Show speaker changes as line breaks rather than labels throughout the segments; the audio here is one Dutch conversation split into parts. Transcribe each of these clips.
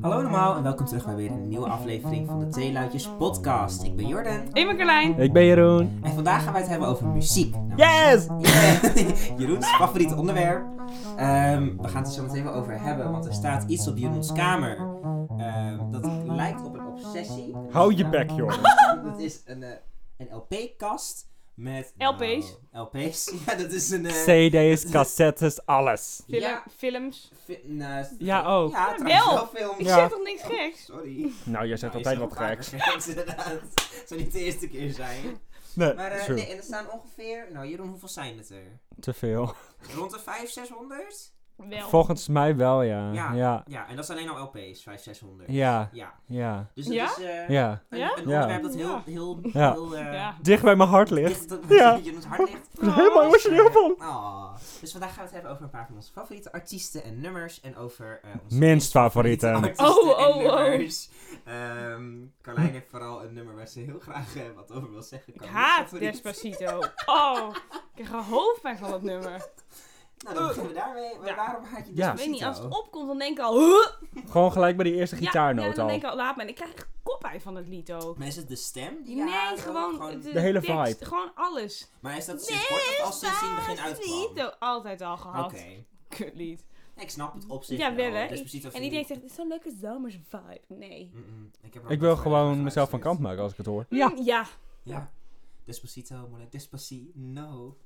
Hallo allemaal en welkom terug bij weer een nieuwe aflevering van de Theeluidjes podcast. Ik ben Jordan
Ik ben Carlijn.
Ik ben Jeroen.
en vandaag gaan wij het hebben over muziek. Nou,
Yes!
Yeah. Jeroens favoriete onderwerp. Ehm, we gaan het er zo meteen wel over hebben, want er staat iets op Jeroens kamer. Ehm, dat lijkt op een obsessie.
Hou je bek, Jordan.
Dat is een, eh, een LP-kast met...
LP's.
Nou, LP's. Ja, dat is een... eh,
CD's, cassettes, alles.
Film-
Ja.
Films.
fi- nou,
Ja, ook.
Ja,
Ja,
trouwens
wel.
wel films.
Ik
Ja.
zeg toch niks geks?
Sorry.
Nou, jij zegt
Nou,
altijd
je
wat
zou vaker
geks.
geks, inderdaad. Het zou niet de eerste keer zijn.
Nee,
Maar eh,
true.
nee, en er staan ongeveer... Nou, Jeroen, hoeveel zijn het er?
te veel.
Rond de 500, 600?
Wel.
Volgens mij wel, ja.
Ja.
Ja, ja,
Ja, en dat zijn alleen al LP's, 500, 600.
ja.
Ja.
ja.
Dus het
Ja?
is eh, een,
Ja.
Ja?
een
Ja.
onderwerp dat heel,
Ja.
heel,
Ja.
heel eh,
Ja.
Dicht bij mijn hart ligt.
dicht op
Ja.
Jeroens hart ligt.
Ik ben er helemaal emotioneel van.
Oh. Dus vandaag gaan we het hebben over een paar van onze favoriete artiesten en nummers. En over eh onze
Minst favoriete.
artiesten
Oh,
en
oh, oh.
nummers. Ehm, Carlijn heeft vooral een nummer waar ze heel graag eh, wat over wil zeggen.
Ik
Carlijn,
haat
favoriet.
Despacito. Oh, ik krijg een hoofdpijn van dat nummer.
Nou, dan beginnen we daarmee. Maar
Ja.
waarom haat je
Ja.
Ik weet niet, als
Despacito?
het opkomt dan denk ik al... Huh?
Gewoon gelijk bij die eerste
ja,
gitaarnoot
dan
al.
denk ik al, laat maar. En Ik krijg echt koppijn van dat lied ook.
Maar is het de stem? die je
Nee,
haat?
gewoon de,
De hele
tekst,
vibe.
Gewoon alles.
Maar is dat sinds kort of al sinds in het begin uitkwam? Oké.
Despacito. Altijd al gehad. Kutlied.
Nee, Ik snap het op zich
Ja, wel, hè.
Despacito
En
vind
iedereen
ik-
zegt, het is zo'n leuke zomers vibe. Nee.
Mm-mm. Ik, heb er ook
Ik
wel
wil
veel
gewoon
naar
mezelf van kant
geluisterd.
maken als ik het hoor.
Mm, ja.
Ja. Despacito, maar Despacito, no.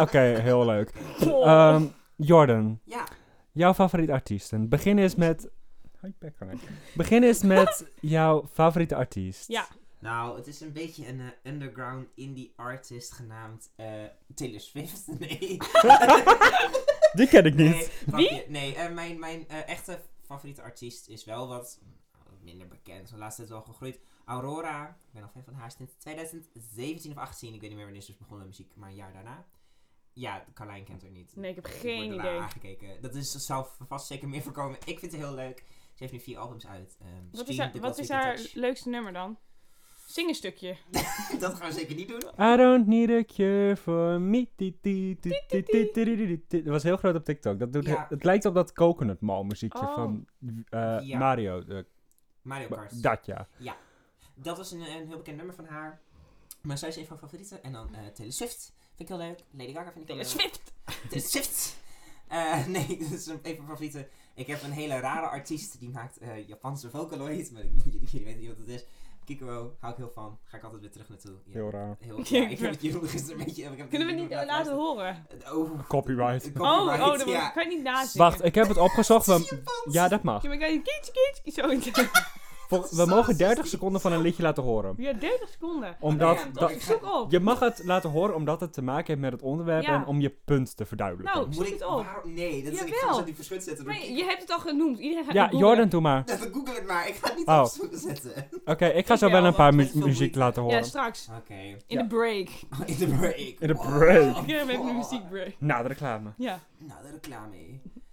Oké, heel leuk. Ehm, Jordan,
Ja.
jouw favoriete artiesten. Begin eens met... Hou je bek, Arne. Begin eens met jouw favoriete artiest.
Ja.
Nou, het is een beetje een eh, underground indie artist genaamd eh, Taylor Swift. Nee.
Die ken ik
Nee,
niet.
grapje. Nee, eh, mijn, mijn eh, echte favoriete artiest is wel wat mm, minder bekend. De laatste tijd wel gegroeid. Aurora. Ik ben al fan van haar sinds 2017 of 18. Ik weet niet meer wanneer ze is begonnen met muziek, maar een jaar daarna. Ja, Carlijn kent haar niet.
Nee, ik heb
ik
geen
word er naar
idee.
aangekeken. Dat is, zou vast zeker meer voorkomen. Ik vind het heel leuk. Ze heeft nu vier albums uit. Ehm,
Wat is
Scream,
haar,
The
wat
Cosmic
is haar
Touch.
leukste nummer dan? Zing een stukje.
Dat gaan we zeker niet doen.
I don't need a cure for me. Ti- ti- ti- ti- ti- ti- ti- ti- ti- Dat was heel groot op TikTok. Dat doet
Ja.
Het lijkt op dat coconut mal muziekje
Oh.
van eh,
Ja.
Mario. eh,
Mario
ba-
Kart.
dat ja.
Dat was een, een heel bekend nummer van haar. Maar zij is een van mijn favorieten. En dan eh Taylor Swift. Vind ik heel leuk. Lady Gaga vind ik heel
Taylor
leuk.
Swift.
Taylor Swift. Eh, nee, dat is een van mijn favorieten. Ik heb een hele rare artiest. Die maakt eh, Japanse Vocaloid. Maar jullie, jullie weten niet wat het is. Kikuro, hou ik heel van. Ga ik altijd weer terug naartoe. Ja,
Heel raar.
heel- ja, ik heb het Jeroen gisteren een beetje... Ik heb het
Kunnen we
Jeroen
niet
laten
laten horen?
luisteren. Oh,
Copyright.
Oh,
copyright,
oh, dat
ja.
kan je niet nazien.
Wacht, ik heb het opgezocht. We,
Japans.
ja, dat mag.
Ja, maar kan je kietje, kietje, zo.
Vol- We mogen 30 seconden van een liedje laten horen.
Ja, 30 seconden.
Omdat
Ja,
dat,
ik ga-
Zoek op.
je mag het laten horen omdat het te maken heeft met het onderwerp
Ja.
en om je punt te verduidelijken.
Nou,
Moet
zoek
ik...
het op.
waarom- nee, dat is, ik
Jawel.
ga zo die verschut zetten. door
Maar
Kik-
je hebt het al genoemd. Iedereen gaat
ja,
het googlen.
Jordan, doe maar.
Even Google het maar. Ik ga het niet
Oh.
op zoek zetten.
Oké, ik ga zo wel
Jawel,
een paar
want
mu-
het is veel
muziek
moeite.
laten
Ja,
horen.
straks.
Oké.
In
Ja.
de break.
In de break.
In de
Wow.
break.
Ik heb even een muziekbreak.
Na de reclame.
Ja.
Nou, de reclame.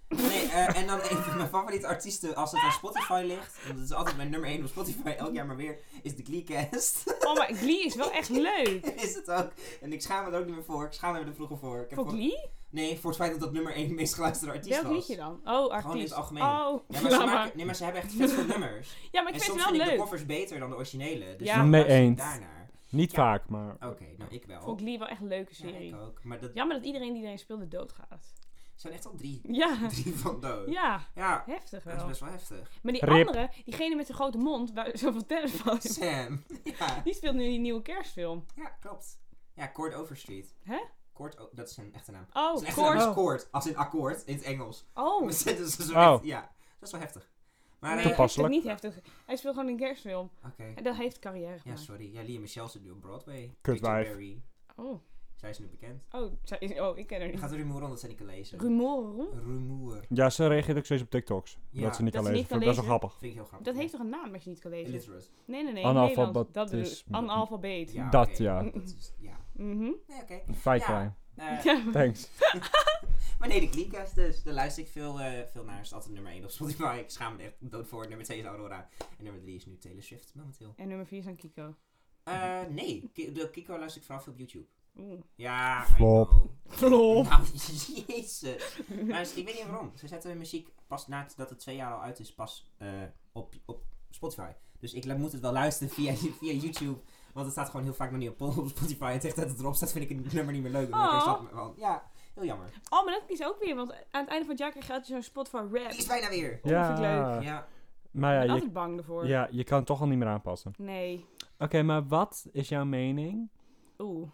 Nee, eh, en dan een van mijn favoriete artiesten als het aan Spotify ligt. Want het is altijd mijn nummer 1 op Spotify, elk jaar maar weer. Is de Gleecast.
Oh, maar Glee is wel echt leuk.
is het ook. En ik schaam me er ook niet meer voor. Ik schaam me er vroeger voor. Ik heb
Voor
gewoon-
Glee?
Nee, voor het feit dat dat nummer 1 meest geluisterde artiest
Welk
was.
liedje dan? Oh, artiest.
in het algemeen.
Oh,
Ja, maar ze,
laat maar.
maken, nee, maar ze hebben echt vet veel nummers.
Ja, maar ik
en
vind
soms
het wel
vind ik de
leuk.
covers beter dan de originele. Dus
Ja.
dan
Mee
luister ik
eens.
daarnaar.
Niet
Ja.
vaak, maar...
Oké, nou ik wel.
Ik vond Glee wel echt een leuke
Ja,
serie.
ik ook. Maar dat
Jammer dat iedereen die erin speelde doodgaat.
zijn echt al drie.
Ja.
Drie van dood.
Ja,
Ja,
heftig
dat is
wel.
best wel heftig.
Maar die
Rip.
andere, diegene met de grote mond, waar zoveel tennis van is,
Sam. Ja,
die speelt nu die nieuwe kerstfilm.
ja klopt. Ja, Court Overstreet.
Hè?
Court, O- dat is zijn echte naam.
Oh,
zijn echte naam
Koord.
is Court, als in akkoord, in het Engels.
Oh,
Maar ze- dus, zo
Oh.
echt- ja, dat is wel heftig. Maar,
nee,
eh,
Toepasselijk.
heftig, niet heftig. Hij speelt gewoon een kerstfilm.
oké.
En dat heeft carrière
Ja,
gemaakt.
sorry. Ja, Lia Michelle zit nu op Broadway.
Kut
Rachel
wijf.
Berry.
oh,
Zij is nu bekend.
oh, zij is- oh, ik ken haar
Ik
niet.
ga het rumoer omdat zij niet kan lezen.
Rumoren, roem?
Rumoer.
Ja, ze reageert ook steeds op TikToks.
Ja.
dat ze
Dat
niet kan
ze
lezen.
niet
Vind ik
kan
best wel grappig.
Vind ik heel grappig.
Dat heeft toch een naam als je niet kan lezen?
Illiterate.
Nee, nee, nee.
Analfabetisme.
Nederlands. Dat bedoel ik. Analfabeet.
Ja,
Dat,
oké.
ja.
Dat is- dus- ja.
Mhm.
Nee, oké.
Feit
Ja.
jij.
Eh,
Ja.
Thanks.
Maar nee, de Gleecast dus. Daar luister ik veel, eh, veel naar. Is altijd nummer 1 op Spotify. Ik schaam me er echt dood voor. Nummer 2 is Aurora. En nummer 3 is nu Taylor Swift momenteel.
En nummer 4 is aan Kiko.
Eh, nee, Ki- de Kiko luister ik vooral veel op YouTube.
Oeh.
Ja,
Flop.
I know.
Lol.
Nou, jezus. Maar dus, ik weet niet waarom. Ze zetten hun muziek pas nadat het twee jaar al uit is, pas eh, op, op Spotify. Dus ik la- moet het wel luisteren via, via YouTube. Want het staat gewoon heel vaak nog niet op, op Spotify. En tegen dat het erop staat, vind ik het nummer niet meer leuk. Dan ben ik er
Oh.
zat mee, want- ja, heel jammer.
Oh, maar dat is ook weer, want aan het einde van het jaar krijg je altijd zo'n spot voor rap.
Die is bijna weer.
dat vind ik leuk.
Ja.
ik ben
Maar ja je,
altijd bang ervoor.
ja, je kan het toch al niet meer aanpassen.
Nee.
Oké, maar wat is jouw mening?
Oeh,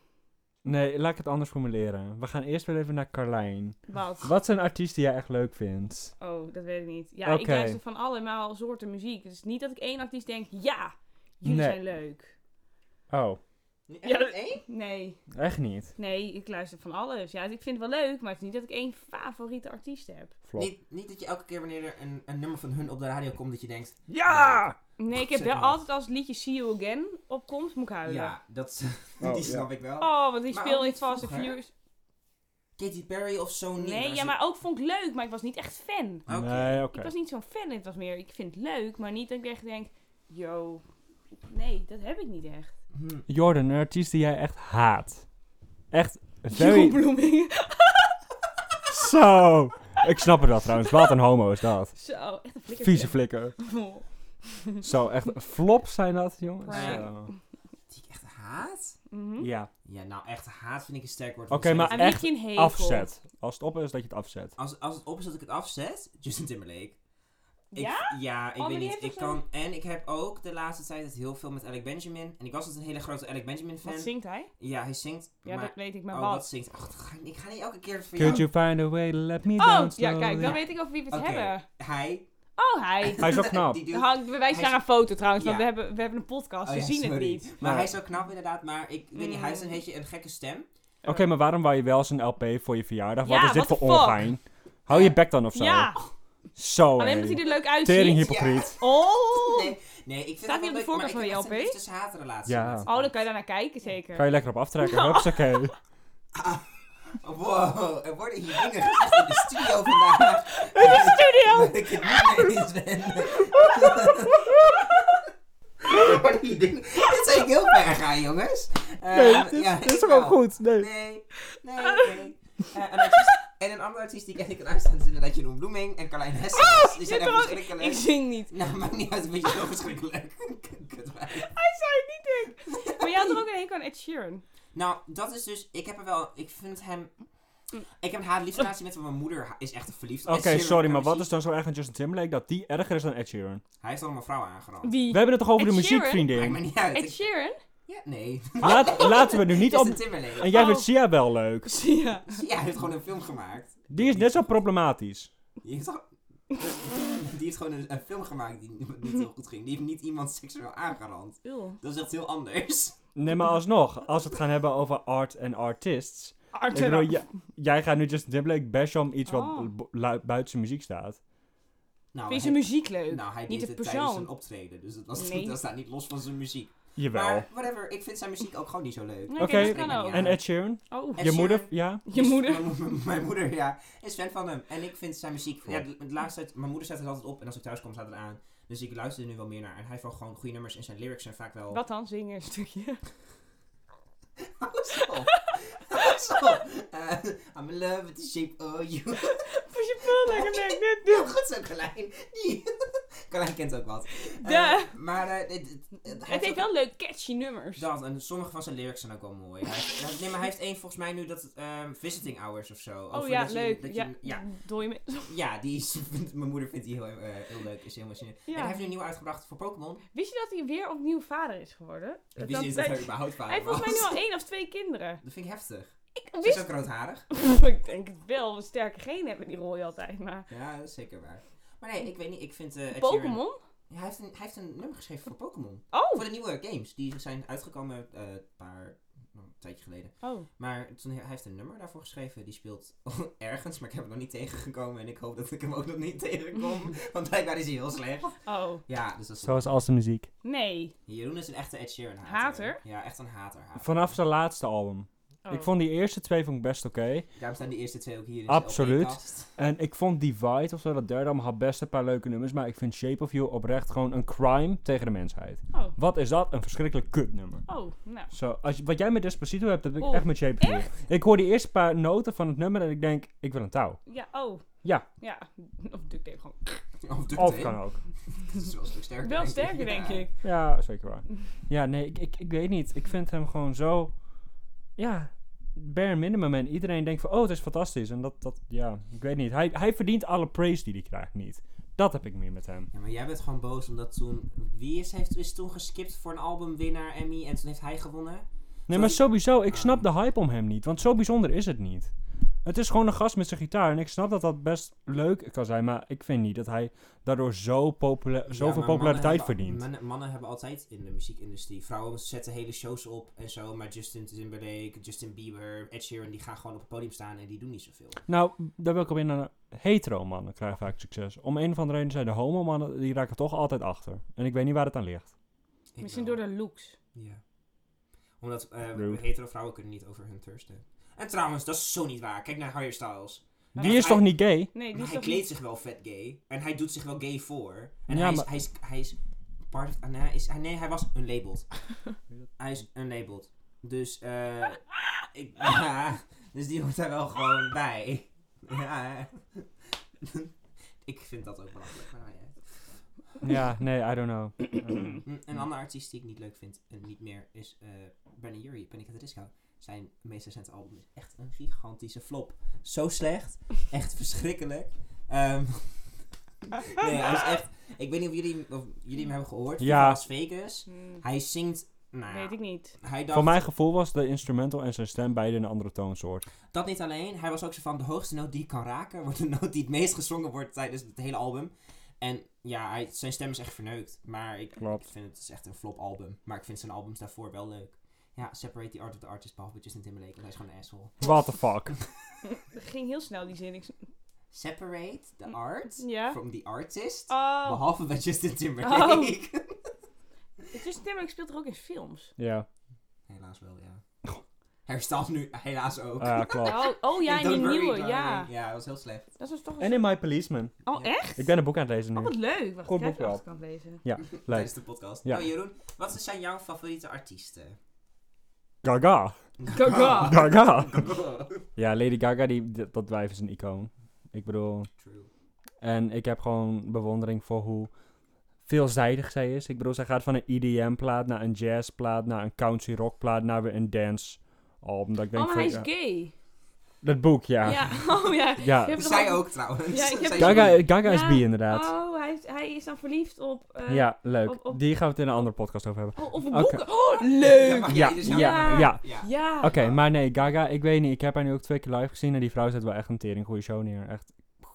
Nee, laat ik het anders formuleren. We gaan eerst weer even naar Carlijn.
wat?
Wat zijn artiesten die jij echt leuk vindt?
Oh, dat weet ik niet. Ja, ik
Oké.
luister van allemaal soorten muziek. Dus niet dat ik één artiest denk, ja, jullie
Nee.
zijn leuk.
Oh,
Ja,
Ja.
één?
Nee,
echt niet.
nee, ik luister van alles. Ja, dus ik vind het wel leuk, maar het is niet dat ik één favoriete artiest heb.
Flop.
Niet, niet dat je elke keer wanneer er een, een nummer van hun op de radio komt, dat je denkt...
Ja!
Nee, ik heb
Zeg
wel
maar.
altijd als het liedje See You Again opkomt, moet ik huilen.
Ja, dat, is-
Oh,
die
ja.
snap ik wel.
Oh, want die
Maar
speel
ook
in
niet
Fast and
vroeger.
Furious.
Katy Perry of zo niet.
Nee, ja,
ze-
maar ook vond ik leuk, maar ik was niet echt fan.
Oké.
Nee, oké.
Ik was niet zo'n fan, het was meer, ik vind het leuk, maar niet dat ik echt denk, yo, nee, dat heb ik niet echt.
Hm.
Jordan, een artiest die jij echt haat. Echt
Jeroen
very...
Bloeming.
Zo! Ik snap het wel trouwens. Wat een homo is dat.
Zo, echt een flikker.
Vieze flikker.
Oh.
Zo, echt flops zijn dat, jongens.
Prank.
Zo.
Die ik echt haat?
Mhm.
Ja.
Ja, nou echt haat vind ik een sterk woord.
Oké,
want
maar
Aan
zij-
wie
echt
heb je een hekel?
Afzet. Als het op is, dat je het afzet.
Oh,
Als, als het op is dat ik het afzet, Justin Timberlake. Ik-
Ja?
ja, ik
maar
weet
die
niet.
heeft
Ik
toch zo'n-
kan, en ik heb ook de laatste tijd het heel veel met Alec Benjamin. En ik was altijd een hele grote Alec Benjamin fan.
Wat zingt hij?
Ja, hij zingt.
Ja,
maar,
dat weet ik, maar
oh,
wat?
wat zingt. Ach, dat ga ik, ik ga niet elke keer voor jou.
Could you find a way to let me down
Oh,
slowly?
ja, kijk, dan weet ik over wie we het
Oké.
hebben.
Hij.
Oh, hij.
Hij is ook knap.
Die dude-
Hang, we wijzen
Hij
naar een foto trouwens,
Ja.
want we hebben, we hebben een podcast,
Oh
we
ja,
zien het
sorry.
niet.
Maar
Ja.
hij is zo knap inderdaad, maar ik weet niet, hij heeft een
Mm.
beetje een gekke stem.
Oké, maar waarom wou je wel eens een LP voor je verjaardag?
Ja,
wat is dit
what
voor
the fuck?
ongein? Hou je bek dan of zo.
Ja,
Zo,
alleen
hé.
omdat hij er leuk uitziet.
Tering hypocriet.
Oh!
Nee, nee, ik vind
Staat
het wel
hij op de
leuk,
voorkant
maar
van je
ik heb echt
LP?
een liefdes-haatrelatie
Ja.
met-
Oh, dan kan je daarnaar kijken zeker.
Kan je lekker op aftrekken.
Ja.
Hupsakee.
Wow, er worden hier dingen gezegd in de studio vandaag.
In de studio!
Dat ik het niet mee eens ben. Er worden hier dingen- Dit zou ik heel ver gaan, jongens. Eh, ja, ik wel.
goed?
Nee, nee, nee. Eh, een artiest- en een andere artiest die ik eigenlijk kan uitstaan is inderdaad Jeroen Bloeming en Carlijn Hessens. Dus die zijn
je
echt
hebt er ook-
verschrikkelijk.
Ah, Ik zing niet.
Nou, maakt niet uit, een beetje zo verschrikkelijk. Kutwijf.
Hij zou het niet denken. Maar jij had er ook een hekel aan Ed Sheeran.
Nou, dat is dus. Ik heb er wel. Ik vind hem. Ik heb een haat-liefrelatie met hem. Mijn moeder ha- is echt verliefd. op
Oké,
Ed Sheeran.
sorry,
Kan
maar wat
muziek-
is dan zo erg aan Justin Timberlake dat die erger is dan Ed Sheeran?
Hij heeft al mijn vrouw aangerand.
Wie?
We hebben het toch over
Ed
de
Sheeran?
Maakt me
muziekvriendin?
niet uit.
Ed
Ik-
Sheeran?
Ja, nee.
Laat, laten we nu niet
Het
op...
is een Timberlake.
En jij
Oh.
vindt Sia wel leuk.
Ja.
Ja, hij heeft gewoon een film gemaakt.
Die is net zo problematisch.
Die heeft, al- die heeft gewoon een, een film gemaakt die niet niet heel goed ging. Die heeft niet iemand seksueel aangerand. Dat is echt heel anders.
Nee, maar alsnog, als we het gaan hebben over art en artists... Ik
Arthur.
bedoel, j- jij gaat nu Justin Timberlake bashen om iets
Oh.
wat bu- lu- buiten zijn muziek staat.
Nou,
Vind je
hij-
zijn muziek leuk?
nou, hij deed
Niet
het
de
tijdens
persoon.
zijn optreden. Dus dat, was,
Nee.
dat staat niet los van zijn muziek.
Jawel.
Maar whatever, ik vind zijn muziek ook gewoon niet zo leuk.
Oké,
Oké,
dat kan ook.
En Ed Sheeran?
Ed
Oh,
je
Sheeran?
moeder? Ja?
je
Is-
moeder.
Mijn, mo- mijn moeder, ja. Is fan van hem. En ik vind zijn muziek...
Cool.
Ja, de, de laatste tijd... Mijn moeder zet het altijd op. En als ik thuis kom, staat het aan. Dus ik luister er nu wel meer naar. En hij heeft wel gewoon goede nummers. En zijn lyrics zijn vaak wel...
Wat dan? Zingen een stukje.
Hou eens op. Hou eens op. Eh, I'm in love with the shape of you.
Voor je pul lekker nek. Dit,
Heel
dit.
goed zo, Carlijn. Die- Carlijn kent ook wat. Eh,
Duh.
maar... eh, dit- dit- hij
Het heeft
ook-
wel leuk catchy nummers.
Dat, en sommige van zijn lyrics zijn ook wel mooi. Hij, nee, maar hij heeft één volgens mij nu dat... ehm, visiting Hours of zo.
Oh
Over
ja,
dat je-
leuk.
dat je-
Ja,
ja,
doe je me-
Ja, die is, vindt- mijn moeder vindt die heel, eh, heel leuk. Is heel emotioneel. En hij
Ja.
heeft nu een nieuw uitgebracht voor Pokémon.
Wist je dat hij weer opnieuw vader is geworden?
En Wie is dat hij überhaupt vader
Hij heeft volgens mij
was.
nu al één of twee kinderen.
Dat vind ik heftig.
Ik
Ze is
wist...
ook roodharig.
Ik denk het wel. We sterke genen hebben die rol altijd, maar...
Ja, dat is zeker waar. Maar nee, ik weet niet. Ik vind... eh, Ed Sheeran-
Pokémon?
Ja, hij, heeft een, hij heeft een nummer geschreven voor Pokémon.
Oh!
Voor de nieuwe games. Die zijn uitgekomen eh, een paar... nou, Een tijdje geleden.
Oh.
Maar toen, hij heeft een nummer daarvoor geschreven. Die speelt ergens, maar ik heb hem nog niet tegengekomen. En ik hoop dat ik hem ook nog niet tegenkom. want blijkbaar is hij heel slecht.
Oh.
Ja, dus dat is...
Zoals als de muziek.
Nee.
Jeroen is een echte Ed Sheeran hater.
Hater?
Ja, echt een hater. hater.
Vanaf zijn laatste album.
Oh.
Ik vond die eerste twee vond ik best oké.
Daarom staan die eerste twee ook hier in
Absoluut.
de LP-kast.
En ik vond Divide of zo, dat derde allemaal, had best een paar leuke nummers. Maar ik vind Shape of You oprecht gewoon een crime tegen de mensheid.
Oh,
Wat is dat? Een verschrikkelijk kutnummer.
oh nou.
Zo, als, je- wat jij met Despacito hebt, dat heb ik
Oh,
echt met Shape of You. Ik hoor die eerste paar noten van het nummer en ik denk, ik wil een touw.
Ja, oh.
Ja.
Ja, of duct tape gewoon.
Of duct
Of
tape.
kan ook.
Dat is wel een stuk sterker.
Wel sterker, denk
Ja.
ik.
Ja, zeker waar. Ja, nee, ik, ik, ik weet niet. Ik vind hem gewoon zo... Ja, bare minimum. En iedereen denkt van, oh, het is fantastisch. En dat, dat ja, ik weet niet. Hij, hij verdient alle praise die hij krijgt niet. Dat heb ik meer met hem.
Ja, maar jij bent gewoon boos omdat toen... Wie is, heeft, is toen geskipt voor een albumwinnaar, Emmy, en toen heeft hij gewonnen?
Nee, maar sowieso, ik
Ah.
snap de hype om hem niet. Want zo bijzonder is het niet. Het is gewoon een gast met zijn gitaar. En ik snap dat dat best leuk kan zijn. Maar ik vind niet dat hij daardoor zo popula-
Ja,
zoveel
maar
populariteit
mannen hebben-
verdient.
Mannen, mannen hebben altijd in de muziekindustrie. Vrouwen zetten hele shows op en zo. Maar Justin Timberlake, Justin Bieber, Ed Sheeran, die gaan gewoon op het podium staan en die doen niet zoveel.
Nou, daar wil ik op in. eh, Hetero mannen krijgen vaak succes. Om een of andere reden zijn de homo mannen, die raken toch altijd achter. En ik weet niet waar het aan ligt.
Ik
Misschien
wel.
door de looks.
Ja. Omdat eh,
Rude.
hetero vrouwen kunnen niet over hun thirsten. En trouwens, dat is zo niet waar. Kijk naar Harry Styles.
Maar
Die
dat
is
hij-
toch niet gay?
Nee, die
Maar
is
hij
toch
kleedt
niet...
zich wel vet gay. En hij doet zich wel gay voor. En
Ja,
hij, is,
maar-
hij is... Hij is, part, ah, nee, hij is hij- nee, hij was unlabeled. hij is unlabeled. Dus, eh... ik, ja, dus die hoort daar wel gewoon bij. ja. ik vind dat ook belachelijk. Maar, ja.
Ja, nee, I don't know. I don't know.
Mm, Een andere artiest die ik niet leuk vind en niet meer is eh Brandon Urie, Panic at the Disco. Zijn meest recente album is echt een gigantische flop. Zo slecht. Echt verschrikkelijk. Ehm, nee, hij is echt... Ik weet niet of jullie, of jullie hem hebben gehoord.
Ja.
Ja. Las Vegas.
Hmm,
Hij zingt... Nou,
Weet ik niet.
hij dacht...
Voor mijn gevoel was de instrumental en zijn stem beide een andere toonsoort.
Dat niet alleen. Hij was ook zo van de hoogste noot die je kan raken. Wordt de noot die het meest gezongen wordt tijdens het hele album. En ja, hij, zijn stem is echt verneukt. Maar ik,
Klopt.
ik vind het is echt een flop album. Maar ik vind zijn albums daarvoor wel leuk. Ja, Separate the Art of the Artist, behalve Justin Timberlake, want hij is gewoon een asshole.
What the fuck?
Dat ging heel snel, die zin. Ik... s-
Separate the art
Mm. Ja.
from the artist,
Oh,
behalve bij Justin Timberlake.
Justin Timberlake speelt er ook in films.
Ja,
Oh.
Helaas wel, ja. Hij staat nu helaas ook.
ja, klopt.
Oh, oh ja, in die
Don't worry,
nieuwe,
darling.
ja.
Ja, dat was heel slecht.
Dat is toch een
En in My Policeman.
soort- Oh,
Ja.
echt?
Ik ben een boek aan het lezen
Oh,
nu.
wat leuk. Wacht,
Goed
ik ga even
boek wel.
de achterkant lezen.
Leuk.
Tijdens de podcast.
Ja.
Nou Jeroen, wat zijn jouw favoriete artiesten?
Gaga.
Gaga.
Gaga. Ah. Ja, Lady Gaga, die, dat- dat wijf is een icoon. Ik bedoel,
True.
en ik heb gewoon bewondering voor hoe veelzijdig zij is. Ik bedoel, zij gaat van een EDM-plaat naar een jazz-plaat, naar een country rock-plaat, naar weer een dance-album. Dat ik denk
Oh, maar hij
van,
is
ja,
gay.
Dat boek,
Ja.
ja.
Oh, ja.
Ja.
Je hebt het
Zij
al-
ook trouwens.
Ja, ik heb-
Zij
Gaga,
ook.
Gaga is
Ja.
bi, inderdaad.
Oh, hij, is- hij is dan verliefd op... eh,
ja, leuk.
op- op-
Die gaan we het in een andere podcast over hebben.
Oh, of op
Oké.
boeken. Oh,
Ja,
leuk.
maar
Ja,
jij dus
ja,
helemaal-
ja.
Ja.
Oké, maar nee, Gaga, ik weet niet. Ik heb haar nu ook twee keer live gezien en die vrouw zet wel echt een tering goede show neer. Echt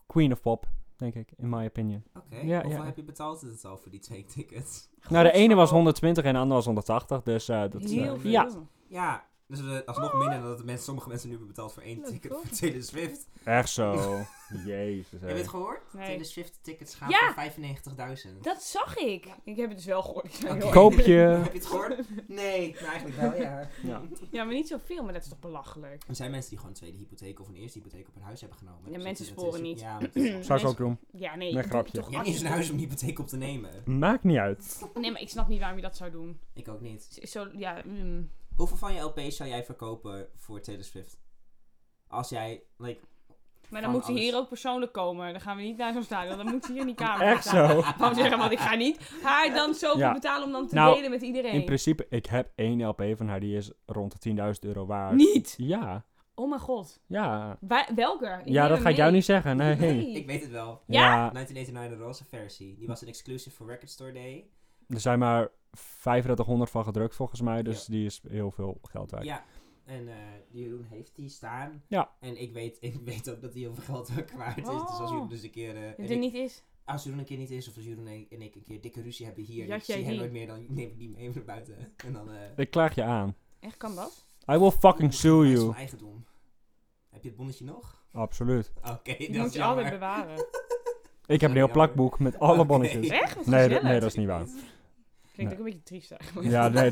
queen of pop, denk ik, in my opinion.
Oké,
Ja,
hoeveel
ja.
heb je betaald in totaal voor die twee tickets?
Nou, de
Goed
ene
zo.
was 120 en de andere was 180, dus eh, dat is... eh,
Heel veel.
ja,
Ja, dus eh, alsnog minder dan dat de mensen, sommige mensen nu hebben betaald voor één
Leuk,
ticket
toch?
voor Taylor Swift.
Echt zo. Jezus.
Heb je het gehoord?
Nee.
Taylor Swift tickets gaan voor
Ja.
95.000.
Dat zag ik. Ik heb het dus wel gehoord. Ik zei,
Oké.
joh.
Koop.
Koopje.
Heb je het gehoord? Nee, nou eigenlijk wel, ja.
Ja.
Ja, maar niet zoveel, maar dat is toch belachelijk.
Er zijn mensen die gewoon een tweede hypotheek of een eerste hypotheek op hun huis hebben genomen.
Ja,
Dus
mensen
dat is- dat is-
sporen niet.
Ja, maar het is- je
Zou ik ook doen.
Ja, nee.
Nee,
doe
grapje.
toch
hebt niet eens een
absoluut-
huis om een hypotheek op te nemen.
Maakt niet uit.
Nee, maar ik snap niet waarom je dat zou doen.
Ik ook niet.
Is- is Zo, ja, mm.
Hoeveel van je LP's zou jij verkopen voor Taylor Swift? Als jij, like,
Maar
Van
dan moet ze
alles.
hier ook persoonlijk komen. Dan gaan we niet naar zo'n stadion. Dan moet ze hier in die kamer
Echt
staan.
zo.
Gewoon zeggen, want ik ga niet haar dan zoveel
Ja.
betalen om dan te
Nou,
delen met iedereen.
In principe, ik heb één LP van haar, die is rond de 10.000 euro waard.
Niet!
Ja,
Oh mijn god.
ja.
Wa- welke? Ik
Ja,
neem
dat
hem
ga ik jou
mee.
niet zeggen. Nee.
Nee.
ik weet het wel.
Ja.
1989, de roze versie. Die was een exclusive voor Record Store Day.
Er zijn maar 3500 van gedrukt volgens mij, dus die is heel veel geld waard.
Ja. En eh, Jeroen heeft die staan.
Ja.
En ik weet, ik weet ook dat die heel veel geld ook waard is. Dus als
Oh.
Jeroen dus een keer... eh, en
Het er
ik-
niet is.
als Jeroen een keer niet is, of als Jeroen en en ik een keer dikke ruzie hebben hier... en
Jat
ik zie
jij
hem
die?
nooit meer, dan neem ik die mee naar buiten. En dan... eh
Ik klaag je aan.
Echt, kan dat?
I will fucking sue
hij is van
you.
eigendom. Heb je het bonnetje nog?
Absoluut.
Oké,
Die
dat
moet
is
je altijd
jammer.
bewaren.
Ik heb een heel
Jammer.
plakboek met alle
Oké.
bonnetjes.
Echt? Wat
Nee, dat-
gezellig.
nee, dat is niet waar.
Klinkt ook een beetje triest eigenlijk.
Ja, nee,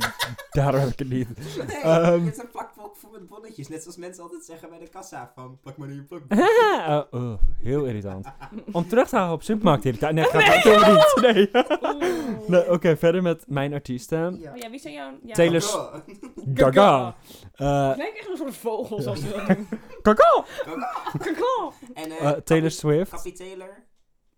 daarom heb ik het niet.
Nee,
Ehm.
het is een plakbol ook voor mijn bonnetjes. Net zoals mensen altijd zeggen bij de kassa van pak maar in je plak.
Eh, oh, heel irritant. Om terug te houden op supermarkt irritant. Nee, gaat het helemaal niet. Nee.
Oeh.
Nee, Oké, verder met mijn artiesten.
Ja. Oh,
Oh ja, wie zijn jouw... Ja.
Taylor-
Coco.
Gaga. Eh,
Het lijkt echt een soort vogels als je dat doen.
Gaga!
Kakao.
En eh,
Eh, Taylor Swift.
Kappie Taylor.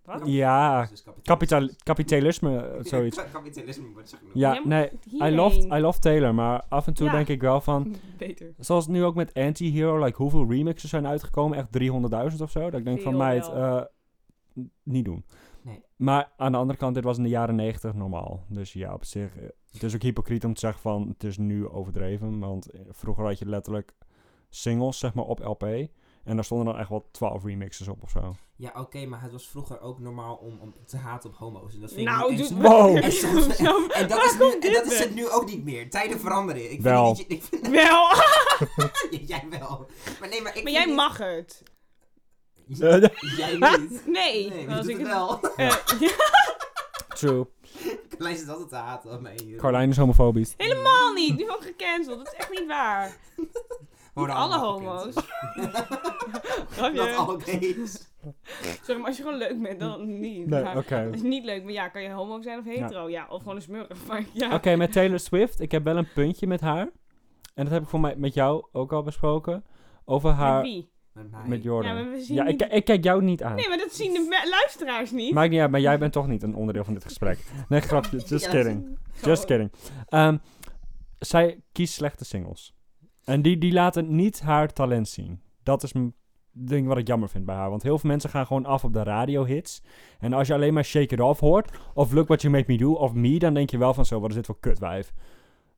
Wat?
Ja,
Dus kapital-
kapital kapitalisme, eh, zoiets.
Kapitalisme wordt zo genoemd.
Ja,
Jij moet
nee. I
hierheen.
love, I love Taylor, maar af en toe
Ja.
denk ik wel van...
Beter.
Zoals nu ook met Anti-Hero, like hoeveel remixes zijn uitgekomen? Echt 300.000 of zo? Dat ik denk van
Veel
meid,
wel.
eh, n- niet doen.
Nee.
Maar aan de andere kant, dit was in de jaren 90 normaal. Dus ja, op zich, eh, het is ook hypocriet om te zeggen van het is nu overdreven. Want eh, vroeger had je letterlijk singles, zeg maar, op LP. En daar stonden dan echt wel 12 remixes op of zo.
Ja, oké, maar het was vroeger ook normaal om, om te haten op homo's. En dat vind
Nou,
ik nu-
doet
en,
Wow.
en soms-
Zo-
en dat,
waar
is,
komt
nu, en
dit
dat is
weer?
het nu ook niet meer. Tijden veranderen. Ik
Wel.
Vind niet, ik vind,
Wel.
jij wel. Maar, nee, maar, ik
Maar
vind
jij
dit-
mag het.
Jij niet.
Nee.
Nee, maar
als
je doet
ik
het wel.
eh, ja,
True.
Carlijn zit altijd te haten op mij. hier.
Carlijn is homofobisch.
helemaal niet. Nu ook gecanceld. Dat is echt niet waar.
Worden
alle
allemaal
homo's.
gekend. Not
Grapje.
all gays.
Sorry, maar als je gewoon leuk bent, dan niet.
Nee,
Maar
oké.
Dat is niet leuk, maar ja, kan je homo zijn of hetero? Ja, of gewoon een smurf. Maar ja.
Oké, met Taylor Swift. Ik heb wel een puntje met haar. En dat heb ik voor mij met jou ook al besproken. Over haar...
Met wie?
Met mij.
Met Jordan.
Ja, maar we zien
ik,
niet-
ik kijk jou niet aan.
Nee, maar dat zien de me- luisteraars niet.
Maakt niet uit, maar jij bent toch niet een onderdeel van dit gesprek. Nee, grapje. Just
Ja,
kidding. Just kidding. Ehm, zij kiest slechte singles. En die, die laten niet haar talent zien. Dat is een ding wat ik jammer vind bij haar. Want heel veel mensen gaan gewoon af op de radiohits. En als je alleen maar Shake It Off hoort, of Look What You Make Me Do, of Me, dan denk je wel van zo, wat is dit voor kutwijf.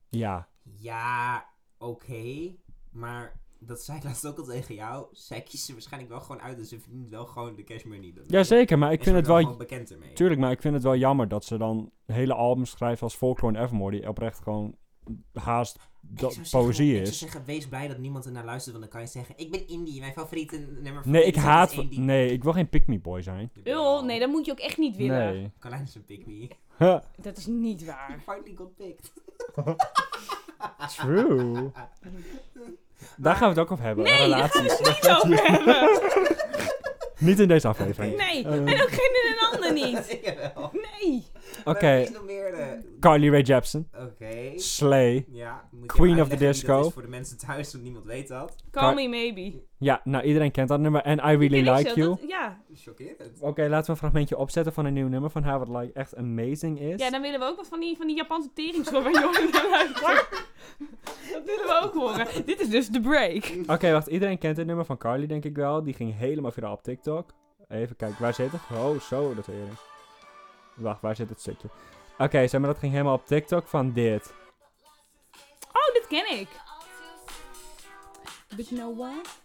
Ja.
Ja, oké. Maar dat zei ik laatst ook al tegen jou. Zij kiezen waarschijnlijk wel gewoon uit. Dus ze verdient wel gewoon de cash money. Dat-
Jazeker, maar
En
ik
ze
vind het
wordt
wel...
gewoon bekend ermee.
Tuurlijk, maar ik vind het wel jammer dat ze dan hele albums schrijven als Folklore en Evermore, die oprecht gewoon haast
Ik
dat
zou zeggen-
poëzie
Ik zou
is.
zeggen, wees blij dat niemand er naar luistert. Want dan kan je zeggen, ik ben indie. Mijn favoriete nummer
Nee, ik
is
haat...
indie.
Nee, ik wil geen pick-me boy zijn.
Jawel, nee, dat moet je ook echt niet willen.
Nee.
Carlijn is een pick me.
Huh,
Dat is niet
I
waar.
finally got picked.
True. Daar gaan we het ook over hebben.
Nee, daar gaan we
relaties.
het niet over hebben.
Niet in deze aflevering.
Nee,
Eh.
en ook geen in een ander niet.
Jawel.
Nee.
Oké,
Maar wie is nog meer de-
Carly Rae Jepsen.
Oké.
Slay.
Ja, moet je
Queen of the
uitleggen wie dat
Disco.
is voor de mensen thuis, want niemand weet dat.
Call me maybe.
Ja, nou iedereen kent dat nummer. En I Really
Ken ik
Like
zo,
You.
dat- ja.
Chockerend.
Oké, laten we een fragmentje opzetten van een nieuw nummer van haar, wat like, echt amazing is.
ja, dan willen we ook wat van die, van die Japanse teringschool waar Jordan naar luistert. Dat willen we ook horen. Dit is dus de break.
Oké, wacht. Iedereen kent het nummer van Carly, denk ik wel. Die ging helemaal viraal op TikTok. Even kijken, waar zit het? Oh, zo, dat heren. Wacht, waar zit het stukje? Oké, zeg maar, dat ging helemaal op TikTok van dit.
Oh, dit ken ik. But you know what?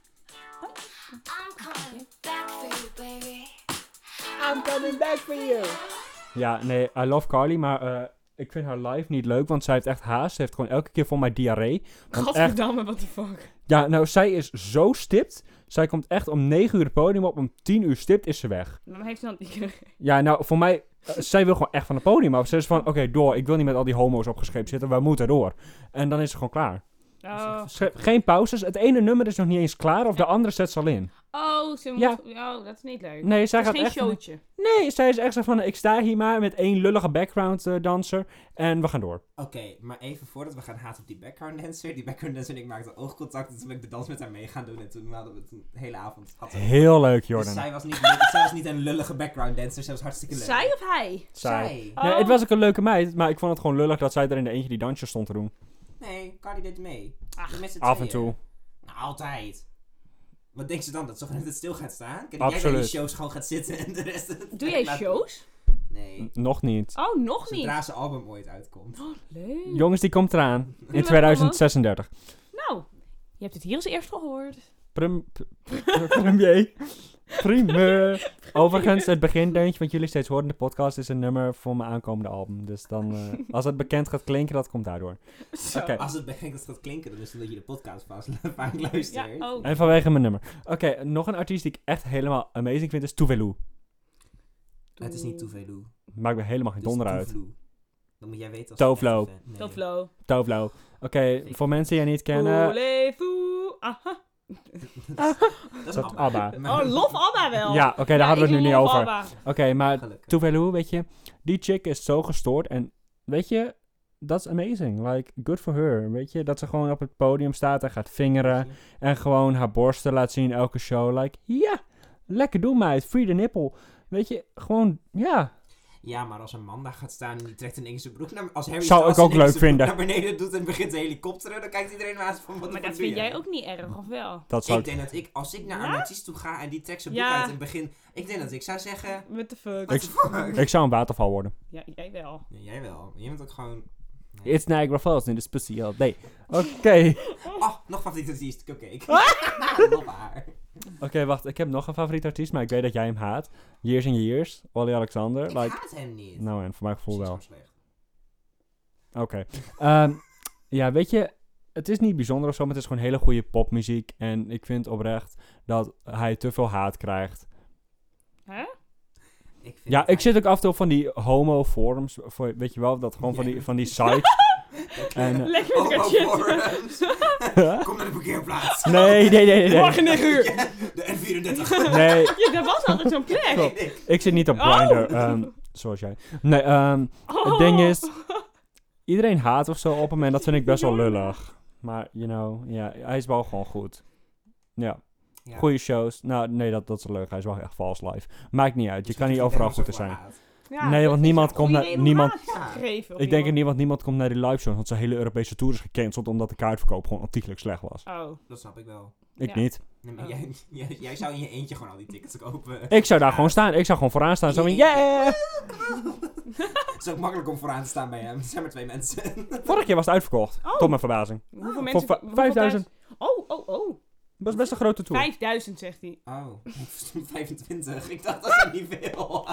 I'm coming back for you, baby.
Ja, nee, I love Carly, maar eh, ik vind haar live niet leuk, want zij heeft echt haast. Ze heeft gewoon elke keer voor mij diarree. Want echt,
Gadverdamme, what the fuck.
ja, nou, zij is zo stipt. Zij komt echt om 9 uur het podium op, om 10 uur stipt is ze weg.
Dan heeft ze dan
Ja, nou, voor mij... eh, zij wil gewoon echt van het podium af. Ze is van, oké, door. Ik wil niet met al die homo's opgeschreven zitten. Wij moeten door. En dan is ze gewoon klaar.
Oh,
Ge- geen pauzes. Het ene nummer is nog niet eens klaar of de andere zet ze al in.
oh ze
Ja.
moet... Oh, dat is niet leuk.
Nee, zij
dat
gaat
is geen
echt...
showtje.
Nee, zij is echt zo van, ik sta hier maar met één lullige background eh, danser en we gaan door.
Oké, maar even voordat we gaan haten op die background dancer. Die background dancer en ik maakten oogcontact. En toen ben ik de dans met haar mee gaan doen. En toen hadden we het een hele avond. gehad.
Heel leuk,
Dus
Jordan.
zij was, niet, zij was niet een lullige background dancer. Zij was hartstikke leuk.
Zij of hij?
Zij.
Zij.
Oh.
Nee, het was ook een leuke meid, maar ik vond het gewoon lullig dat zij er in de eentje die dansjes stond te doen.
Nee, Cardi deed mee.
Ach,
Met z'n
Af en
tweeën.
toe.
Nou, altijd. Wat denkt ze dan? Dat ze gewoon net stil gaat staan? Kijk, jij bij
Absoluut.
die shows gewoon gaat zitten en de rest...
Doe jij
Laat-
shows?
Nee.
N- Nog niet.
Oh, nog niet.
Zodra zijn album ooit uitkomt.
Oh, leuk.
Jongens, die komt eraan. In
maar
2036.
Nou, je hebt het hier als eerst gehoord.
Prim, p- pr- premier. Primeur. Overigens, het begindeuntje wat jullie steeds horen in de podcast is een nummer voor mijn aankomende album. Dus dan, eh, als het bekend gaat klinken, dat komt daardoor.
Zo.
Oké.
Als het begint dat het gaat klinken, dan is het omdat je de podcast vaak, vaak luistert.
Ja, oh.
En vanwege mijn nummer. Oké, nog een artiest die ik echt helemaal amazing vind is Touvelu.
Het is niet Toevelu. Dus
Dus
Maakt me helemaal geen donder uit.
Toevelu. Dat moet jij weten als
Tovlo.
echte fan. Nee,
Dat
joh.
flow.
Tovlo. Oké, voor mensen die je niet kennen,
Voulez-vous? Aha.
Dat is
dat
Abba.
ABBA.
Maar-
Oh, lof Abba wel.
Ja, oké, daar
Ja,
hadden
ik
we het nu niet
love
over. Oké,
Abba.
maar
Gelukkig.
Tuvelu, weet je, die chick is zo gestoord. En weet je, that's amazing. Like, good for her. Weet je, dat ze gewoon op het podium staat en gaat vingeren. En gewoon haar borsten laat zien elke show. Like, ja, lekker doen meid. Free the nipple. Weet je, gewoon, ja.
Ja, maar als een man daar gaat staan en die trekt ineens zijn broek naar Als Harry
Zou
Styles
ik ook
ineens
leuk
zijn broek
vinden.
naar beneden doet en begint te helikopteren, dan kijkt iedereen maar eens van wat de
Maar
fuck
dat
doe
vind jij
jij?
ook niet erg, of wel?
Dat zou
Ik denk dat ik, als ik naar
Ja?
een artiest toe ga en die trekt zijn broek
Ja.
uit en begint... Ik denk dat ik zou zeggen...
What the fuck?
What the fuck?
ik zou een waterval worden.
Ja, jij wel.
Nee, jij wel. Jij bent ook gewoon... Nee.
It's Niagara Falls in the pussy all day. Oké.
Oh, nog favoriete artiest. Cupcake.
Oh.
Nou, Love haar.
Oké, wacht. Ik heb nog een favoriet artiest, maar ik weet dat jij hem haat. Years and Years, Wally Alexander.
Ik
Like,
haat hem niet.
nou en voor mijn gevoel
Precies,
wel.
gewoon slecht.
Oké. Ehm, ja, weet je, het is niet bijzonder of zo, maar het is gewoon hele goede popmuziek. En ik vind oprecht dat hij te veel haat krijgt.
Ik vind
Ja,
het
ik zit ook af en toe op van die homo-forums, voor- weet je wel, dat gewoon van die, van die sites.
eigenlijk-
en, eh,
Lekker met
Oh, oh,
elkaar shit.
forums. Kom naar de parkeerplaats.
nee, nee, nee, nee.
Morgen 9 uur.
De N34.
Nee,
Ja, dat was altijd zo'n plek.
Klopt.
Oh,
ik zit niet op Grindr, ehm, zoals jij. Nee, ehm,
Oh.
het ding is, iedereen haat of zo op hem en dat vind ik best wel lullig. Maar, you know, ja, hij is wel gewoon goed. Ja.
Ja.
Goede shows. Nou, nee, dat, dat is leuk. Hij is wel echt vals live. Maakt niet uit. Je
Dus
kan
ik
niet
vind
overal
hem
goed te
ook wel
zijn.
haat.
Ja,
nee, want niemand komt
goede
naar.
reden om
Niemand,
haat te geven op
ik denk er
iemand.
niemand, niemand komt naar die live shows. Want zijn hele Europese tour is gecanceld. Omdat de kaartverkoop gewoon ontiegelijk slecht was.
Oh.
Dat snap ik wel.
Ik
Ja.
niet.
Nee, maar
Oh.
jij, jij, jij zou in je eentje gewoon al die tickets kopen.
Ik zou daar gewoon staan. Ik zou gewoon vooraan staan. Zo van, yeah!
Het is ook makkelijk om vooraan te staan bij hem. Er zijn maar twee mensen.
Vorig jaar was het uitverkocht.
Oh.
Tot mijn verbazing.
Hoeveel
Voor
mensen?
va-
hoeveel
5000.
thuis- Oh, oh, oh.
Dat was best een grote tour.
5000 zegt hij.
Oh, ik verstond 25. Ik dacht dat is niet veel.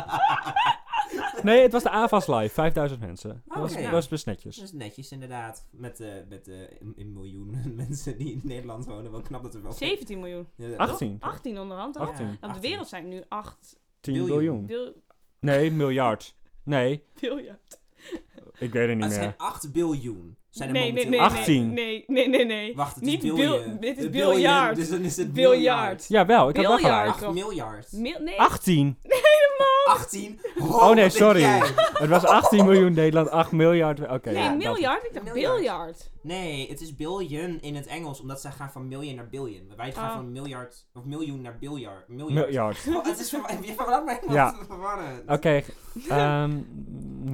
Nee, het was de AVAS live. 5000 mensen.
Oh,
Dat was,
Oké.
dat was best
Dat
netjes.
is dus netjes inderdaad. Met, eh met eh, een, een miljoen mensen die in Nederland wonen. Wel knap dat er wel...
17 miljoen.
Ja, dat-
18.
18 onderhand. al.
18.
Want de wereld zijn nu 8
10
Biljoen.
biljoen.
bil-
Nee, miljard. Nee,
biljard.
ik weet het niet
Het
meer.
zijn 8 biljoen. Zijn er
Nee, nee,
momenteel.
nee.
18.
Nee, nee, nee, nee.
Wacht, het
Niet
is
bil-
biljoen.
dit is
De
biljard.
Dus dan is het biljard.
Biljard.
Jawel, ik had wel
Miljard.
gelijk.
8 miljard.
Mil- nee.
18.
18? Oh,
Oh
wat
nee,
denk
sorry.
jij?
Het was 18 miljoen Nederland, 8 miljard. Oké.
Nee,
ja, dat-
miljard. Ik dacht
Miljard.
biljard.
Nee, het is billion in het Engels, omdat zij gaan van miljoen naar billion. Wij gaan
Ah.
van miljard, of miljoen naar biljard. Miljard.
Miljard.
Oh, het is verwa- je verwaart mij helemaal
Ja.
te verwarren.
Oké. ehm,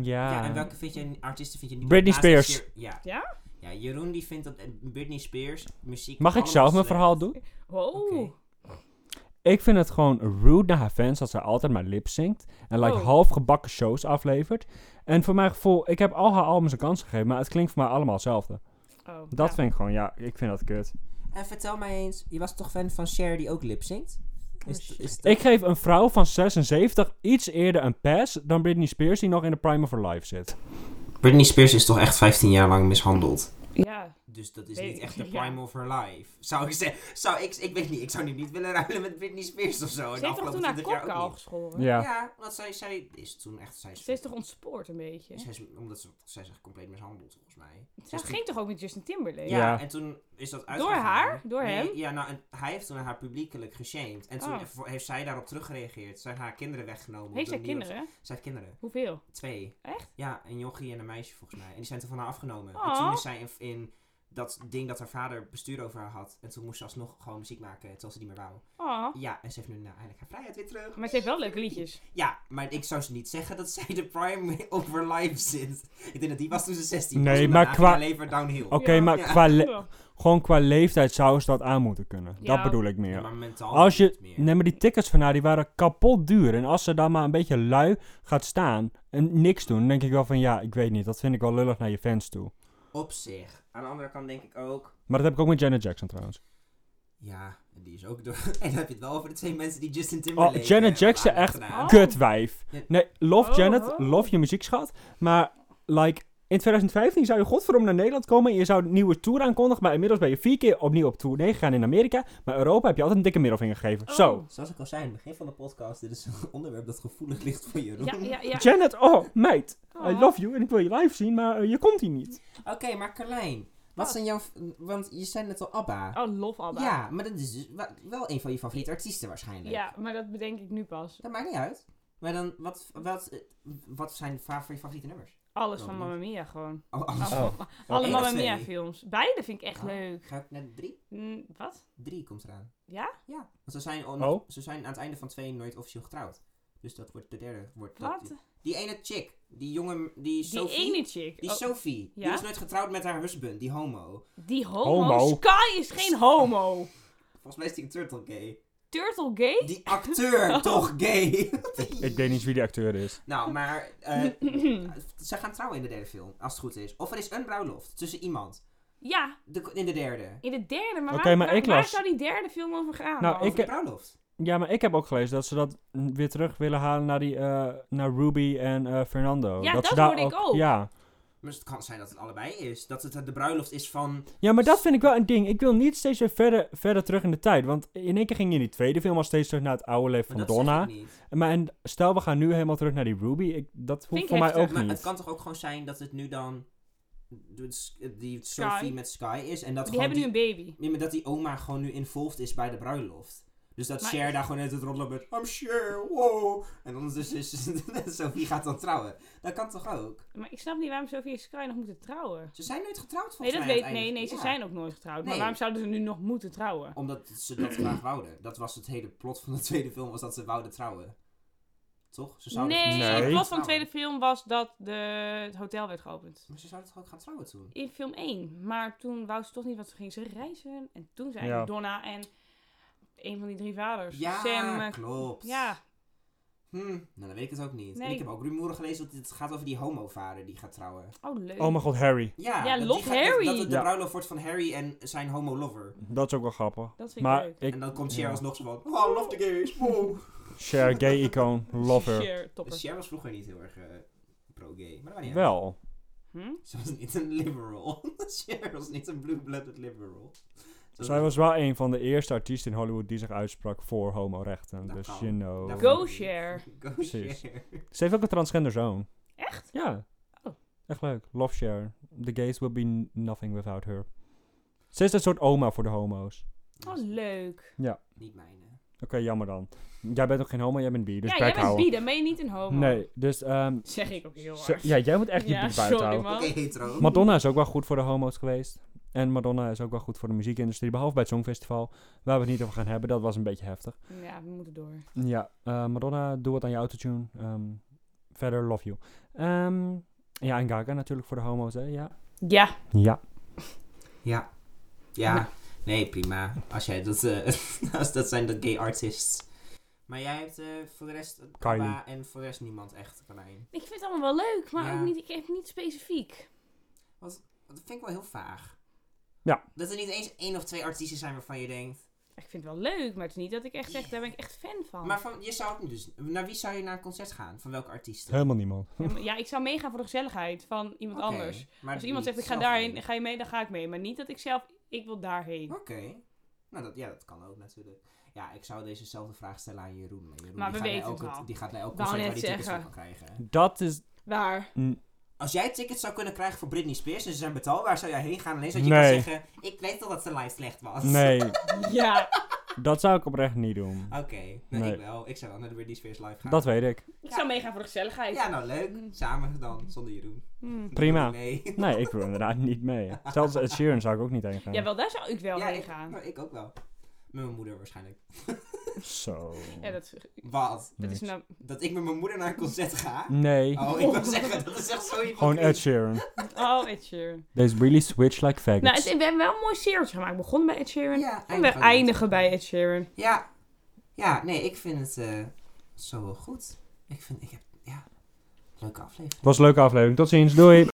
ja.
Ja, en welke vind je, artiesten vind je niet
Britney
leuk naast
Spears.
Jer- ja.
Ja?
Ja, Jeroen die vindt dat eh, Britney Spears muziek...
Mag ik
allemaal eh,
zelf mijn
slecht-
verhaal doen?
Wow.
Oké.
Ik vind het gewoon rude naar haar fans dat ze altijd maar lip zingt. En like
Oh.
half gebakken shows aflevert. En voor mijn gevoel, ik heb al haar albums een kans gegeven, maar het klinkt voor mij allemaal hetzelfde.
Oh,
Dat
ja.
vind ik gewoon, ja, ik vind dat kut.
En vertel mij eens, je was toch fan van Cher die ook lipzingt? Is,
shit.
is dat-
Ik geef een vrouw van 76 iets eerder een pass dan Britney Spears die nog in de prime of her life zit.
Britney Spears is toch echt 15 jaar lang mishandeld?
Ja.
Dus dat is
Weet
niet
ik-
echt de
ja.
prime of her life. Zou ik zeggen, zou ik, ik weet niet, ik zou nu niet willen ruilen met Britney Spears of zo. En
Ze heeft toch
afgelopen
toen haar
20 jaar
kok
ook
al
niet.
geschoren?
Ja.
Ja, want zij, zij is toen echt, zij is,
Ze is toch ontspoord een beetje?
zij is- omdat ze, zij is echt compleet mishandeld volgens mij.
Ze
is
ging toch ook met Justin Timberlake?
Ja,
Ja.
en toen is dat uit.
haar? Door hem?
Ja, nou, en hij heeft toen haar publiekelijk geshamed. En toen
Oh.
heeft- heeft zij daarop teruggereageerd. Zijn haar kinderen weggenomen.
Heeft
door
zij
niemand-
kinderen?
Zij heeft kinderen.
Hoeveel?
Twee.
Echt?
Ja, een jochie en een meisje volgens mij. En die zijn toen van haar afgenomen. En
Oh.
toen is zij in, in dat ding dat haar vader bestuur over haar had. En toen moest ze alsnog gewoon muziek maken, terwijl ze die meer wou.
Oh.
Ja, en ze heeft nu nou, eindelijk haar vrijheid weer terug.
Maar ze heeft wel leuke liedjes.
Ja, maar ik zou ze niet zeggen dat zij de prime of her life zit. Ik denk dat die was toen ze 16
Nee,
was.
maar
daarna ging
qua-
haar leven downhill.
Oké,
Ja.
maar
Ja.
qua le-
Ja.
gewoon qua leeftijd zou ze dat aan moeten kunnen.
Ja.
Dat bedoel ik meer.
Ja, maar mentaal
Als
niet
je,
meer.
nee, maar die tickets van haar, die waren kapot duur. En als ze dan maar een beetje lui gaat staan en niks doen, dan denk ik wel van, ja, ik weet niet. Dat vind ik wel lullig naar je fans toe.
Op zich. Aan de andere kant denk ik ook.
Maar dat heb ik ook met Janet Jackson trouwens.
Ja, die is ook door. En dan heb je het wel over de twee mensen die Justin
Oh,
Timberlake.
Janet
eh,
Jackson,
hebben
echt
aangedaan.
kutwijf. Nee, love
Oh,
Janet,
oh.
love je muziek, schat. Maar, like, in 2015 zou je godverdomme naar Nederland komen en je zou een nieuwe tour aankondigen. Maar inmiddels ben je vier keer opnieuw op tournee gegaan in Amerika. Maar Europa heb je altijd een dikke middelvinger gegeven.
Oh.
Zo.
Zoals ik al zei in het begin van de podcast, dit is een onderwerp dat gevoelig ligt voor je.
Ja, ja, ja.
Janet, oh, meid. I love you en ik wil je live zien, maar eh, je komt hier niet.
Oké, maar Carlijn, wat,
Wat?
zijn jouw... Want je zei net al ABBA.
Oh, love Abba.
Ja, maar dat is dus wa- wel een van je favoriete artiesten waarschijnlijk.
Ja, maar dat bedenk ik nu pas.
Dat maakt niet uit. Maar dan, wat, wat, eh, wat zijn fa- van je favoriete nummers?
Alles
Oh,
van
nee.
Mamma Mia gewoon.
Oh, alles.
Alle- Alle
echt
Mamma
twee?
Mia films. Beide vind ik echt
Oh.
leuk.
Ga ik naar drie?
Mm, wat?
Drie komt eraan.
Ja?
Ja. Want ze zijn, al-
Oh.
ze zijn aan het einde van twee nooit officieel getrouwd. Dus dat wordt de derde. Wordt dat-
Wat?
die, ene chick. Die jongen, die
Die
Sophie.
ene chick.
Die
Oh,
Sophie.
Ja?
Die is nooit getrouwd met haar husband, die homo.
die homo.
Homo.
Sky is geen homo.
Volgens mij is die een turtle gay.
Turtle gay?
Die
Oh.
acteur, toch gay?
Ik weet niet wie die acteur is.
nou, maar eh, ze gaan trouwen in de derde film, als het goed is. Of er is een bruiloft tussen iemand.
ja,
De, in de derde.
in de derde. Maar,
Oké,
waar,
maar
waar,
ik
waar
las-
zou die derde film over gaan? dan?
Nou,
Over
ik-
de bruiloft.
Ja, maar ik heb ook gelezen dat ze dat mm, weer terug willen halen naar, die, eh, naar Ruby en eh, Fernando.
Ja,
ze
dat
daar
hoorde ik ook.
Ja.
Maar het kan zijn dat het allebei is. Dat het de bruiloft is van...
ja, maar dat vind ik wel een ding. Ik wil niet steeds weer verder, verder terug in de tijd. Want in één keer ging je in die tweede film al steeds terug naar het oude leven
Maar
van
dat
Donna.
zeg ik niet.
Maar en stel, we gaan nu helemaal terug naar die Ruby. Ik, dat hoeft
ik
voor mij
heftig.
ook
Maar het
niet.
kan toch ook gewoon zijn dat het nu dan... de- s- Die
Sky.
Sophie met Sky is. En dat
die
gewoon
hebben nu
die,
een baby.
Nee, maar dat die oma gewoon nu involved is bij de bruiloft. Dus dat
Maar-
Cher daar gewoon net het roddelen met... I'm Cher, wow. En ondertussen is... dus- Sophie gaat dan trouwen. Dat kan toch ook?
Maar ik snap niet waarom Sophie en Sky nog moeten trouwen.
Ze zijn nooit getrouwd volgens
Nee, dat
mij aan
weet
het
Nee,
einde.
nee, ze
Ja.
zijn ook nooit getrouwd. Maar
Nee.
waarom zouden ze nu nog moeten trouwen?
Omdat ze dat graag wouden. Dat was het hele plot van de tweede film. Was dat ze wouden trouwen. Toch? Ze zouden
Nee,
Nee.
het plot van
Trouwen.
de tweede film was dat de, het hotel werd geopend.
Maar ze zouden toch ook gaan trouwen toen?
In film 1. Maar toen wou ze toch niet, want toen ging ze reizen. En toen zijn
Ja.
Donna en een van die drie vaders.
Ja,
Sam. eh,
klopt.
ja,
Hm, nou, dan weet ik het ook niet. En
Nee.
ik heb ook rumoeren gelezen dat het gaat over die homovader die gaat trouwen.
oh leuk.
Oh mijn god, Harry.
Ja,
Ja,
dat
love
die gaat- dat-
Harry.
Dat het de
Ja.
bruiloft wordt van Harry en zijn homo-lover.
Dat is ook wel grappig.
dat vind ik
Maar
leuk.
En
ik,
dan komt Cher
ja.
alsnog zo van, oh, love the gays, wow.
Cher, gay icoon, love her.
Share, topper.
Dus Cher was vroeger niet heel erg eh, pro-gay, maar dat was niet uit.
Wel.
Hm?
Ze was niet een liberal. Cher was niet een blue-blooded liberal. Ze
Zij was wel een van de eerste artiesten in Hollywood die zich uitsprak voor homorechten.
Dat
Dus,
kan.
you know.
Dat
Go
kan.
Cher.
Go
Precies.
Cher.
Ze heeft ook een transgender zoon.
Echt?
Ja.
Oh.
Echt leuk. Love Cher. The gays will be n- nothing without her. Ze is een soort oma voor de homo's.
Oh leuk.
Niet mijne.
Oké, jammer dan. Jij bent ook geen homo, jij bent bi, dus
ja, jij
buiten
bent
houden.
bi, dan ben je niet een homo.
Nee, dus... ehm,
Zeg ik ook heel
ze-
hard.
ja, jij moet echt
Ja,
je biet buiten
sorry
houden.
Oké,
man.
hetero.
Madonna is ook wel goed voor de homo's geweest. En Madonna is ook wel goed voor de muziekindustrie, behalve bij het Songfestival. Waar we het niet over gaan hebben, dat was een beetje heftig.
Ja, we moeten door.
Ja, eh, Madonna, doe wat aan je autotune. Ehm, verder, love you. Ehm, ja, en Gaga natuurlijk voor de homo's, hè? Ja.
Ja,
Ja.
Ja. Ja. Nee, prima. Als jij dat... eh, als dat zijn de gay artists. Maar jij hebt eh, voor de rest...
Kylie.
Abba En voor de rest niemand echt, Carlijn.
ik vind het allemaal wel leuk, maar
Ja.
ook niet, ik heb niet specifiek.
Dat vind ik wel heel vaag.
Ja.
Dat er niet eens één of twee artiesten zijn waarvan je denkt...
Ik vind het wel leuk, maar het is niet dat ik echt zeg, daar ben ik echt fan van.
Maar van, je zou het dus... Naar wie zou je naar een concert gaan? Van welke artiesten?
Helemaal niemand.
Ja, maar- Ja, ik zou meegaan voor de gezelligheid van iemand
Oké,
anders.
maar
Als iemand
niet
zegt, ik ga
zelf
daarheen,
heen.
ga je mee, dan ga ik mee. Maar niet dat ik zelf, ik wil daarheen.
Oké. Nou, dat, ja, dat kan ook natuurlijk. Ja, ik zou dezezelfde vraag stellen aan Jeroen. Maar Jeroen
Maar
die gaat
we
naar
weten
elk-
het al.
Die gaat naar elk
Wou
concert waar
net
die tickets voor
zeggen.
kan krijgen.
Dat is...
Waar?
Als jij tickets zou kunnen krijgen voor Britney Spears en ze zijn betaalbaar, zou jij heen gaan? Alleen zodat je
Nee.
kan zeggen, ik weet al dat ze live slecht was.
Nee,
Ja.
dat zou ik oprecht niet doen.
Oké, nou,
Nee.
ik wel. Ik zou wel naar de Britney Spears live gaan.
Dat weet ik.
Ik zou meegaan voor de gezelligheid.
Ja, nou leuk. Samen dan, zonder Jeroen.
Hm.
Prima.
Nee.
Nee, ik wil inderdaad niet mee. Zelfs Ed Sheeran zou ik ook niet heen gaan.
Ja, wel, daar zou ik wel
ja,
heen
ik,
gaan.
nou, ik ook wel. Met mijn moeder waarschijnlijk.
Zo.
Ja, dat,
Wat?
dat is
Niks.
nou...
Dat ik met mijn moeder naar een concert ga?
Nee.
Oh, ik wil zeggen, dat is echt zo
Gewoon
hypocriet.
Ed Sheeran.
Oh, Ed Sheeren.
They really switch like faggots.
Nou, het- we hebben wel een mooi serietje gemaakt. We begonnen bij Ed Sheeran.
Ja,
en we eindigen bij Ed Sheeran.
Ja. Ja, nee, ik vind het eh, zo wel goed. Ik vind, ik heb, ja, leuke aflevering.
Het was een leuke aflevering. Tot ziens. Doei.